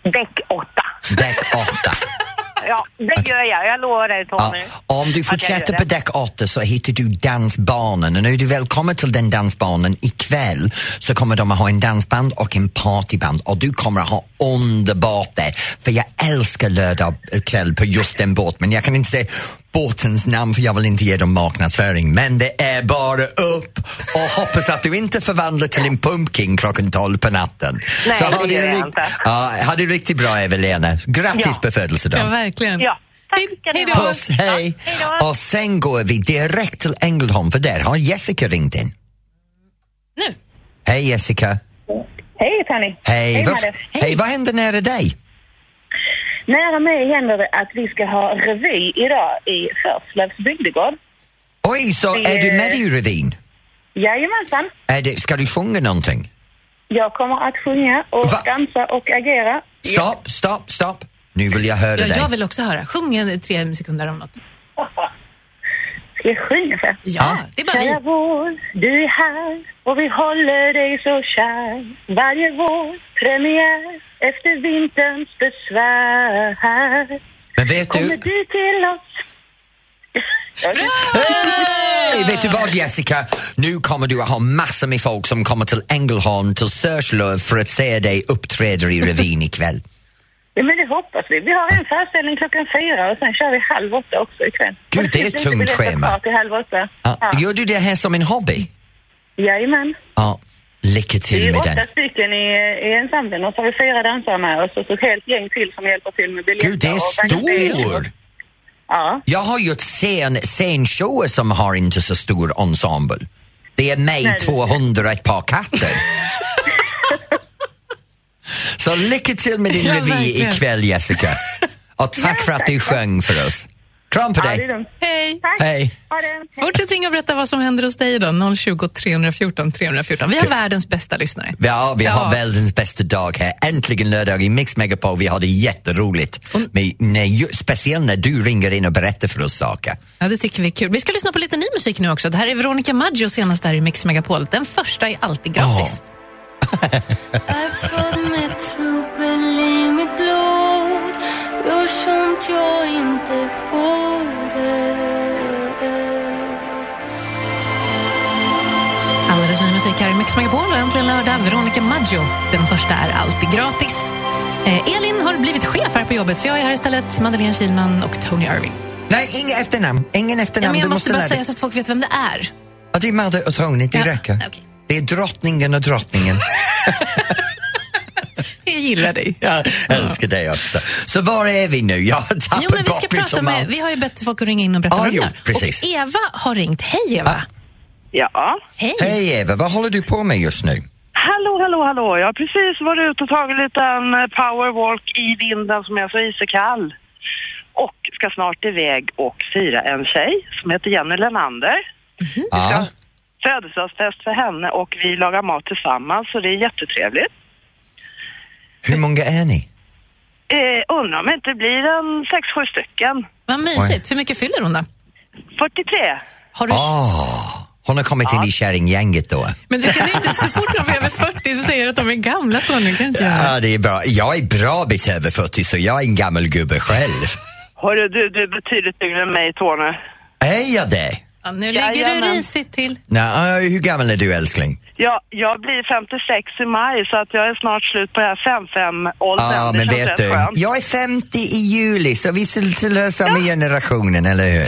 [SPEAKER 10] Däck 8.
[SPEAKER 2] Däck 8.
[SPEAKER 10] Ja, det gör jag. Jag lovar dig
[SPEAKER 2] Ja,
[SPEAKER 10] Tony.
[SPEAKER 2] om du
[SPEAKER 10] Att jag
[SPEAKER 2] fortsätter
[SPEAKER 10] gör
[SPEAKER 2] på
[SPEAKER 10] det.
[SPEAKER 2] däck 8 så hittar du dansbanan och nu är du välkommen till den dansbanan ikväll så kommer de att ha en dansband och en partyband och du kommer att ha underbart där för jag älskar lördag kväll på just den båten men jag kan inte säga båtens namn för jag vill inte ge dem marknadsföring men det är bara upp och hoppas att du inte förvandlar till en pumpkin klockan 12 på natten.
[SPEAKER 10] Nej,
[SPEAKER 2] så ha
[SPEAKER 10] det gör jag
[SPEAKER 2] rikt-
[SPEAKER 10] inte.
[SPEAKER 2] Ja, ha det riktigt bra Eva-Lena. Grattis
[SPEAKER 10] Ja.
[SPEAKER 2] på födelsedagen.
[SPEAKER 1] Ja, verkligen.
[SPEAKER 10] Ja, tack
[SPEAKER 1] Hej-
[SPEAKER 10] ska ni
[SPEAKER 1] hej då.
[SPEAKER 10] ha.
[SPEAKER 2] Puss, hej!
[SPEAKER 10] Ja, hej då.
[SPEAKER 2] Och sen går vi direkt till Ängelholm för där har Jessica ringt in.
[SPEAKER 1] Nu.
[SPEAKER 2] Hej Jessica!
[SPEAKER 5] Hej Penny!
[SPEAKER 2] Hej!
[SPEAKER 5] Hej,
[SPEAKER 2] vad,
[SPEAKER 5] Madde.
[SPEAKER 2] hej. vad händer nära dig?
[SPEAKER 5] Nära mig händer det att vi ska ha revy idag i Förslövs bygdegård.
[SPEAKER 2] Oj, så
[SPEAKER 5] Det-
[SPEAKER 2] är du med i revyn?
[SPEAKER 5] Jajamensan!
[SPEAKER 2] Är det, ska du sjunga någonting?
[SPEAKER 5] Jag kommer att sjunga och
[SPEAKER 2] Va?
[SPEAKER 5] dansa och agera.
[SPEAKER 2] Stopp, stopp, stopp! Nu vill jag höra
[SPEAKER 1] Ja,
[SPEAKER 2] dig.
[SPEAKER 1] jag vill också höra. Sjung en tre sekunder om något.
[SPEAKER 5] <laughs> Ska jag sjunga för?
[SPEAKER 1] Ja,
[SPEAKER 2] Ja.
[SPEAKER 1] det är bara vi.
[SPEAKER 5] Kära vår, du är här och vi håller dig så kär. Varje vår premiär efter vinterns besvär.
[SPEAKER 2] Men vet
[SPEAKER 5] Kommer
[SPEAKER 2] du,
[SPEAKER 5] du till oss? Ja, det-
[SPEAKER 2] Hej! Vet du vad Jessica? Nu kommer du att ha massor med folk som kommer till Ängelholm, till Sörslöv för att se dig uppträda i revyn ikväll.
[SPEAKER 5] Ja, men det hoppas vi. Vi har en föreställning klockan fyra och sen kör vi halv åtta också ikväll.
[SPEAKER 2] Gud,
[SPEAKER 5] Och
[SPEAKER 2] det är
[SPEAKER 5] finns
[SPEAKER 2] ett
[SPEAKER 5] inte
[SPEAKER 2] tungt
[SPEAKER 5] biljetter
[SPEAKER 2] schema.
[SPEAKER 5] kvar till halv åtta.
[SPEAKER 2] Ja,
[SPEAKER 5] Ja.
[SPEAKER 2] Gör du det här som en hobby?
[SPEAKER 5] Jajamän.
[SPEAKER 2] Ja, lycka
[SPEAKER 5] Vi
[SPEAKER 2] till
[SPEAKER 5] är
[SPEAKER 2] med den.
[SPEAKER 5] åtta stycken i, i ensemblen och så har vi fyra dansare med oss och så ett helt gäng till som hjälper till med biljetter.
[SPEAKER 2] Gud, det
[SPEAKER 5] och
[SPEAKER 2] är
[SPEAKER 5] bagage.
[SPEAKER 2] stor!
[SPEAKER 5] Ja,
[SPEAKER 2] Jag har gjort scen, scenshower som har inte så stor ensemble. Det är mig,
[SPEAKER 5] Nej, det är
[SPEAKER 2] 200 och ett par
[SPEAKER 5] <laughs>
[SPEAKER 2] katter. så lycka till med din
[SPEAKER 1] Ja,
[SPEAKER 2] revy
[SPEAKER 1] verkligen.
[SPEAKER 2] ikväll, Jessica. Och tack för att du sjöng för oss. Kram på
[SPEAKER 5] ja det är
[SPEAKER 2] dig!
[SPEAKER 5] dumt.
[SPEAKER 1] Hej!
[SPEAKER 5] Tack.
[SPEAKER 2] Hej!
[SPEAKER 5] Ha det.
[SPEAKER 1] Fortsätt ringa och berätta vad som händer hos dig idag. 020 314 314. Vi har världens bästa lyssnare.
[SPEAKER 2] Ja, vi har
[SPEAKER 1] Ja.
[SPEAKER 2] världens bästa dag här. Äntligen lördag i Mix Megapol. Vi har det jätteroligt. Men när, ju- speciellt när du ringer in och berättar för oss saker.
[SPEAKER 1] Ja, det tycker vi är kul. Vi ska lyssna på lite ny musik nu också. Det här är Veronica Maggio senast här i Mix Megapol. Den första är alltid gratis.
[SPEAKER 7] I've fått mig trubbel i mitt blod Gör sånt jag inte borde
[SPEAKER 1] Alldeles ny musik här i Mix Megapol och äntligen lördag. Veronica Maggio. Den första är alltid gratis. Eh, Elin har blivit chef här på jobbet så jag är här istället. Madeleine Kilman och Tony Irving.
[SPEAKER 2] Nej, inga efternamn. Ingen
[SPEAKER 1] Ja,
[SPEAKER 2] efternamn.
[SPEAKER 1] men jag
[SPEAKER 2] Du
[SPEAKER 1] måste,
[SPEAKER 2] lära
[SPEAKER 1] bara
[SPEAKER 2] dig.
[SPEAKER 1] säga så att folk vet vem det är.
[SPEAKER 2] Ja, det är Madde och Tony, det
[SPEAKER 1] Ja,
[SPEAKER 2] räcker.
[SPEAKER 1] okej.
[SPEAKER 2] Det är drottningen
[SPEAKER 1] <laughs>
[SPEAKER 2] och drottningen.
[SPEAKER 1] Jag gillar dig.
[SPEAKER 2] Jag älskar dig också. Så var är vi nu? Jag har tappat
[SPEAKER 1] Jo, men vi ska
[SPEAKER 2] bort mitt
[SPEAKER 1] prata
[SPEAKER 2] humör.
[SPEAKER 1] med, vi har ju bett folk att ringa in och berätta
[SPEAKER 2] Ja,
[SPEAKER 1] vad de
[SPEAKER 2] jo,
[SPEAKER 1] gör.
[SPEAKER 2] precis.
[SPEAKER 1] Och Eva har ringt. Hej Eva!
[SPEAKER 2] Ah.
[SPEAKER 4] Ja.
[SPEAKER 1] Hej!
[SPEAKER 2] Hej Eva, vad håller du på med just nu?
[SPEAKER 4] Hallå, hallå, hallå. Jag har precis varit ute och tagit en liten eh, powerwalk i vinden som är så isekall. Och ska snart iväg och fira en tjej som heter Jenny Lenander.
[SPEAKER 2] Ja.
[SPEAKER 4] Födelsedagsfest för henne och vi lagar mat tillsammans så det är jättetrevligt.
[SPEAKER 2] Hur många är ni?
[SPEAKER 4] Eh, undrar om det inte blir en sex, sju stycken.
[SPEAKER 1] Vad mysigt. Hur mycket fyller hon då?
[SPEAKER 4] 43.
[SPEAKER 1] Har du...
[SPEAKER 2] Åh, hon har kommit in i kärringgänget då.
[SPEAKER 1] Men du kan inte, så fort de är över 40 så säger du att de är gamla Tony. Kan inte göra.
[SPEAKER 2] Ja, det är bra. Jag är bra bit över 40 så jag är en gammal gubbe själv.
[SPEAKER 4] Hörru, du, du är betydligt yngre än mig, Tony.
[SPEAKER 2] är jag det?
[SPEAKER 1] Ja, nu ligger du
[SPEAKER 4] Jajamän.
[SPEAKER 1] risigt till.
[SPEAKER 2] Nej, hur gammal är du älskling?
[SPEAKER 4] Ja, jag blir 56 i maj så att jag är snart slut på det här 5-5-åldern.
[SPEAKER 2] Ja,
[SPEAKER 4] Det
[SPEAKER 2] men
[SPEAKER 4] känns
[SPEAKER 2] vet
[SPEAKER 4] rätt
[SPEAKER 2] du,
[SPEAKER 4] skönt.
[SPEAKER 2] jag är 50 i juli så vi tillhör samma generationen, eller hur?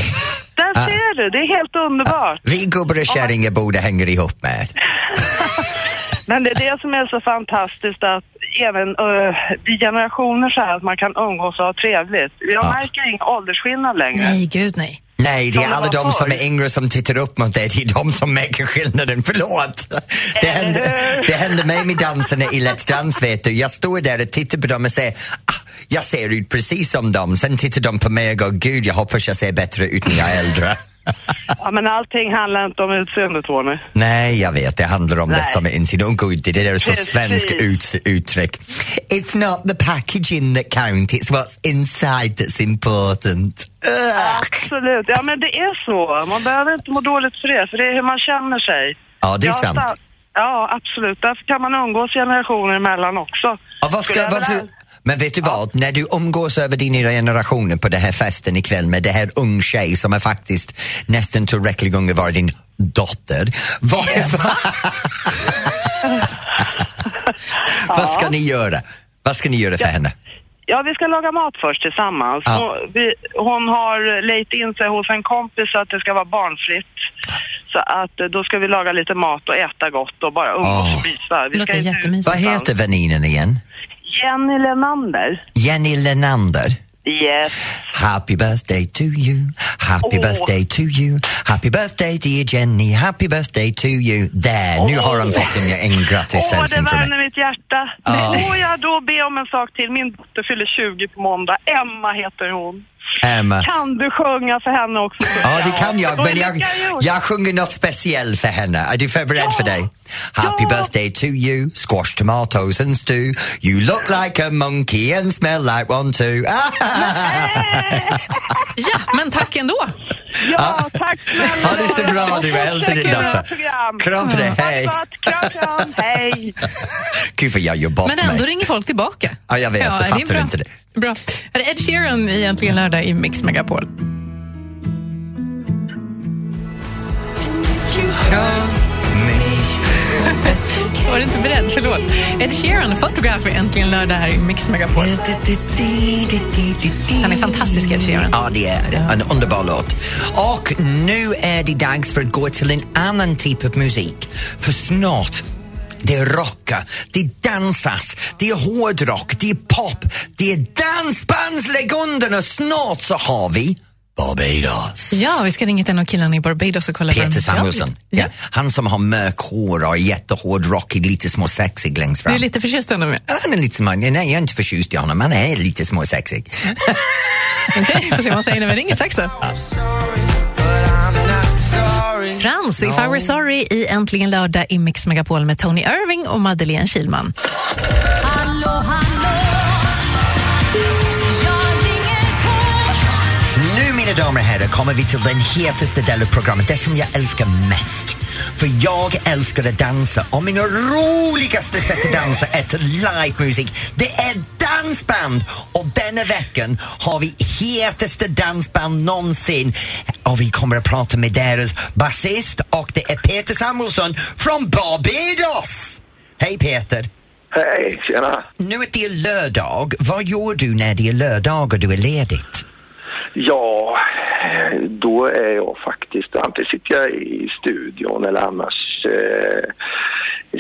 [SPEAKER 4] Där
[SPEAKER 2] Ah.
[SPEAKER 4] ser du, det är helt underbart.
[SPEAKER 2] Vi gubbar och kärringar borde hänga ihop med.
[SPEAKER 4] Men det är det som är så fantastiskt att även uh, i generationer så här att man kan umgås och ha trevligt. Jag
[SPEAKER 2] Ja.
[SPEAKER 4] märker ingen åldersskillnad längre.
[SPEAKER 1] Nej, gud nej.
[SPEAKER 2] Nej, det är
[SPEAKER 4] Som
[SPEAKER 2] alla
[SPEAKER 4] det var
[SPEAKER 2] de som
[SPEAKER 4] förr.
[SPEAKER 2] är yngre som tittar upp mot dig, det är de som märker skillnaden. Förlåt! Det
[SPEAKER 4] Eller
[SPEAKER 2] hände,
[SPEAKER 4] hur?
[SPEAKER 2] det hände mig med dansarna i Let's Dance, vet du. Jag står där och tittar på dem och säger ah, jag ser ut precis som dem. Sen tittar de på mig och går, gud, jag hoppas jag ser bättre ut när jag är äldre.
[SPEAKER 4] Ja, men allting handlar inte om utseende, Tony.
[SPEAKER 2] Nej, jag vet, det handlar om det
[SPEAKER 4] Nej.
[SPEAKER 2] som är insidan. Gud, det där är så
[SPEAKER 4] Precis.
[SPEAKER 2] svenska ut, uttryck. It's not the packaging that counts, it's what's inside that's important. Ugh.
[SPEAKER 4] Absolut. Ja, men det är så. Man behöver inte må dåligt för det, för det är hur man känner sig.
[SPEAKER 2] Ja, det är
[SPEAKER 4] Jag
[SPEAKER 2] sant.
[SPEAKER 4] sa- Ja, absolut. Därför kan man umgås generationer emellan också.
[SPEAKER 2] Ja, vad,
[SPEAKER 4] Skulle
[SPEAKER 2] ska,
[SPEAKER 4] jag
[SPEAKER 2] vad,
[SPEAKER 4] vilja-
[SPEAKER 2] du- Men vet du vad, när du umgås över dina generationer på den här festen ikväll med det här ung tjej som är faktiskt nästan tillräckligt gånger var din dotter. Vad, <laughs>
[SPEAKER 4] <laughs>
[SPEAKER 2] vad ska ni göra? Vad ska ni göra för henne?
[SPEAKER 4] Ja, vi ska laga mat först tillsammans.
[SPEAKER 2] Ja.
[SPEAKER 4] Hon, vi, hon har lejt in sig hos en kompis så att det ska vara barnfritt. Så att eh, då ska vi laga lite mat och äta gott och bara umgås
[SPEAKER 2] Åh.
[SPEAKER 4] och mysa. Vi
[SPEAKER 1] Låter
[SPEAKER 4] ska inte ut
[SPEAKER 1] jättemysigt.
[SPEAKER 2] Vad
[SPEAKER 4] någonstans.
[SPEAKER 2] heter väninen igen?
[SPEAKER 4] Jenny Lenander.
[SPEAKER 2] Jenny Lenander.
[SPEAKER 4] Yes.
[SPEAKER 2] Happy birthday to you, happy
[SPEAKER 4] Åh.
[SPEAKER 2] birthday to you, happy birthday dear Jenny, happy birthday to you. Där, nu har han fått en, en
[SPEAKER 4] Åh, det
[SPEAKER 2] grattishälsning från mig.
[SPEAKER 4] värmer mitt hjärta.
[SPEAKER 2] Ja.
[SPEAKER 4] Får jag då be om en sak till? Min dotter fyller 20 på måndag. Emma heter hon.
[SPEAKER 2] Emma.
[SPEAKER 4] Kan du sjunga för henne också?
[SPEAKER 2] Ja, det kan jag,
[SPEAKER 4] Då är
[SPEAKER 2] men
[SPEAKER 4] det
[SPEAKER 2] jag,
[SPEAKER 4] lika gjort.
[SPEAKER 2] jag sjunger något speciellt för henne. Är du förberedd för dig? Happy birthday to you, squash tomatoes and stew. You look like a monkey and smell like one too. Ah,
[SPEAKER 1] Ja, men tack ändå.
[SPEAKER 4] Ja, tack snälla.
[SPEAKER 2] ha det så bra du, hälsa din dotter. Kram på
[SPEAKER 4] Mm.
[SPEAKER 2] dig, hej.
[SPEAKER 4] Kram, kram, hej.
[SPEAKER 2] Gud vad jag gör bort
[SPEAKER 1] Men ändå
[SPEAKER 2] mig.
[SPEAKER 1] ringer folk tillbaka.
[SPEAKER 2] Ja, jag vet, jag
[SPEAKER 1] är
[SPEAKER 2] fattar
[SPEAKER 1] bra.
[SPEAKER 2] inte det.
[SPEAKER 1] Bra. Här är Ed Sheeran i Äntligen lördag i Mix Megapol. Var du inte beredd? Förlåt. Ed Sheeran, fotograf i Äntligen lördag här i Mix Megapol. Han är fantastisk, Ed Sheeran.
[SPEAKER 2] Ja, det är det. En underbar låt. Och nu är det dags för att gå till en annan typ av musik. För snart det rockar, det dansas, det är hårdrock, det är pop, det är dansbandslegenden och snart så har vi Barbados.
[SPEAKER 1] Ja, vi ska ringa till en av killarna i Barbados och kolla vad de
[SPEAKER 2] Peter
[SPEAKER 1] gör.
[SPEAKER 2] Samuelsson, ja.
[SPEAKER 1] Ja.
[SPEAKER 2] han som har mörk hår och är jättehård rockig, lite småsexig längst
[SPEAKER 1] Du
[SPEAKER 2] fram.
[SPEAKER 1] är lite förtjust ändå <laughs> med.
[SPEAKER 2] Han är lite smart. Nej, jag är inte förtjust i honom, han är lite småsexig.
[SPEAKER 1] Okej, får se vad han säger när vi ringer strax då. Frans, If I Were Sorry i Äntligen lördag i Mix Megapol med Tony Irving och Madeleine Kilman.
[SPEAKER 8] Hallå, hallå, jag ringer på.
[SPEAKER 2] Nu, mina damer och herrar, kommer vi till den hetaste delen av programmet, det som jag älskar mest. För jag älskar att dansa och mina roligaste sätt att dansa är till livemusik. Det är dansband! Och denna veckan har vi hetaste dansband någonsin. Och vi kommer att prata med deras basist och det är Peter Samuelsson från Barbados! Hej Peter!
[SPEAKER 9] Hej, tjena.
[SPEAKER 2] Nu att det är lördag, vad gör du när det är lördag och du är ledigt?
[SPEAKER 9] Ja, då är jag faktiskt, antingen sitter jag i studion eller annars eh,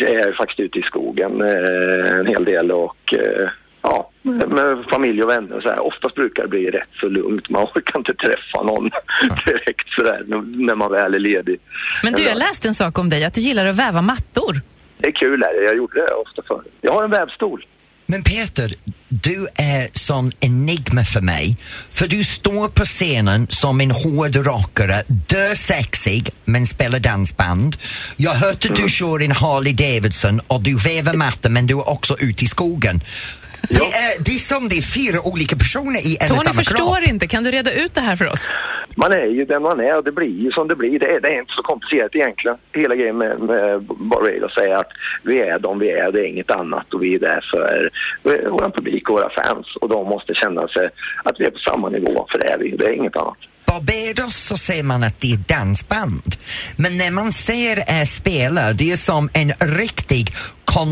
[SPEAKER 9] är jag ju faktiskt ute i skogen eh, en hel del och eh, ja,
[SPEAKER 1] Mm.
[SPEAKER 9] med familj och vänner och så här. Oftast brukar det bli rätt så lugnt. Man orkar inte träffa någon direkt så där när- när man väl är ledig.
[SPEAKER 1] Mm. Men du, jag
[SPEAKER 9] Eller-
[SPEAKER 1] läste en sak om dig, att du gillar att väva mattor.
[SPEAKER 9] Det är kul är det. Jag gjorde det ofta förr. Jag har en vävstol.
[SPEAKER 2] Men Peter, du är som enigma för mig. För du står på scenen som en hårdrockare, dösexig, men spelar dansband. Jag hörde du kör en Harley Davidson och du väver matta men du är också ute i skogen.
[SPEAKER 9] Ja.
[SPEAKER 2] Det, är, det är som det är fyra olika personer i en och
[SPEAKER 1] Tony
[SPEAKER 2] samma kropp.
[SPEAKER 1] förstår inte, kan du reda ut det här för oss?
[SPEAKER 9] Man är ju den man är och det blir ju som det blir. Det är, det är inte så komplicerat egentligen. Hela grejen med, med Barbados är att vi är de vi är, det är inget annat och vi är där för vår publik och våra fans och de måste känna sig att vi är på samma nivå, för det är vi. Det är inget annat.
[SPEAKER 2] Barbados så ser man att det är dansband. Men när man ser er spela, det är som en riktig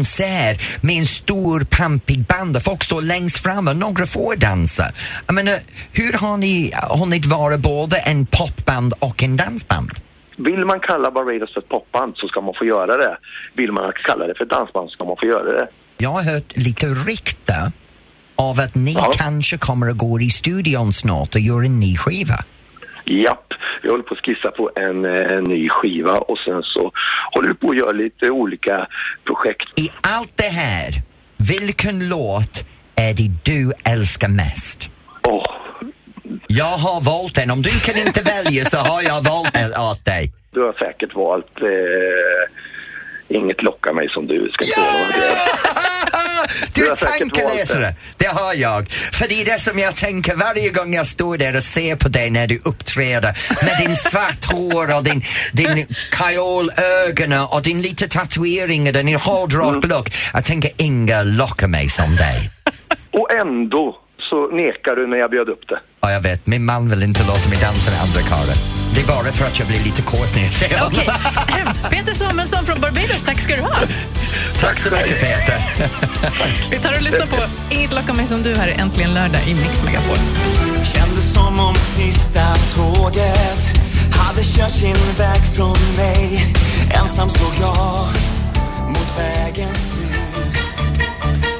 [SPEAKER 2] konsert med en stor pampig band och folk står längst fram och några får dansa. Jag menar, hur har ni hunnit vara både en popband och en dansband?
[SPEAKER 9] Vill man kalla Barbados för ett popband så ska man få göra det. Vill man kalla det för ett dansband så ska man få göra det.
[SPEAKER 2] Jag har hört lite rykte av att ni
[SPEAKER 9] Ja.
[SPEAKER 2] kanske kommer att gå i studion snart och göra en ny skiva.
[SPEAKER 9] Japp, vi håller på att skissa på en, eh, en ny skiva och sen så håller vi på att göra lite olika projekt
[SPEAKER 2] I allt det här, vilken låt är det du älskar mest?
[SPEAKER 9] Åh,
[SPEAKER 2] Jag har valt den. Om du kan inte välja så har jag valt den åt dig.
[SPEAKER 9] du har säkert valt eh, Inget lockar mig som du. Ska inte yeah!
[SPEAKER 2] Du
[SPEAKER 9] Du har
[SPEAKER 2] är
[SPEAKER 9] säkert
[SPEAKER 2] tankeläsare. Det har jag. För det är det som jag tänker varje gång jag står där och ser på dig när du uppträder med din svart hår och din, din kajolögon och din lite tatuering och din
[SPEAKER 9] Mm.
[SPEAKER 2] hårdrock look. Jag tänker, Inga lockar mig som dig.
[SPEAKER 9] Och ändå så nekar du när jag bjöd upp det.
[SPEAKER 2] Ja, jag vet, min man vill inte låta mig dansa med andra karlar. Det är bara för att jag blir lite kåt när jag ser honom.
[SPEAKER 1] <laughs> Okej. Peter Samuelsson från Barbados, tack ska du ha.
[SPEAKER 2] Tack så mycket Peter.
[SPEAKER 1] Vi tar och lyssnar på Inget lockar mig som du här är äntligen lördag i Mix Megapol.
[SPEAKER 11] Kändes som om sista tåget hade kört sin väg från mig Ensam såg jag mot vägens slut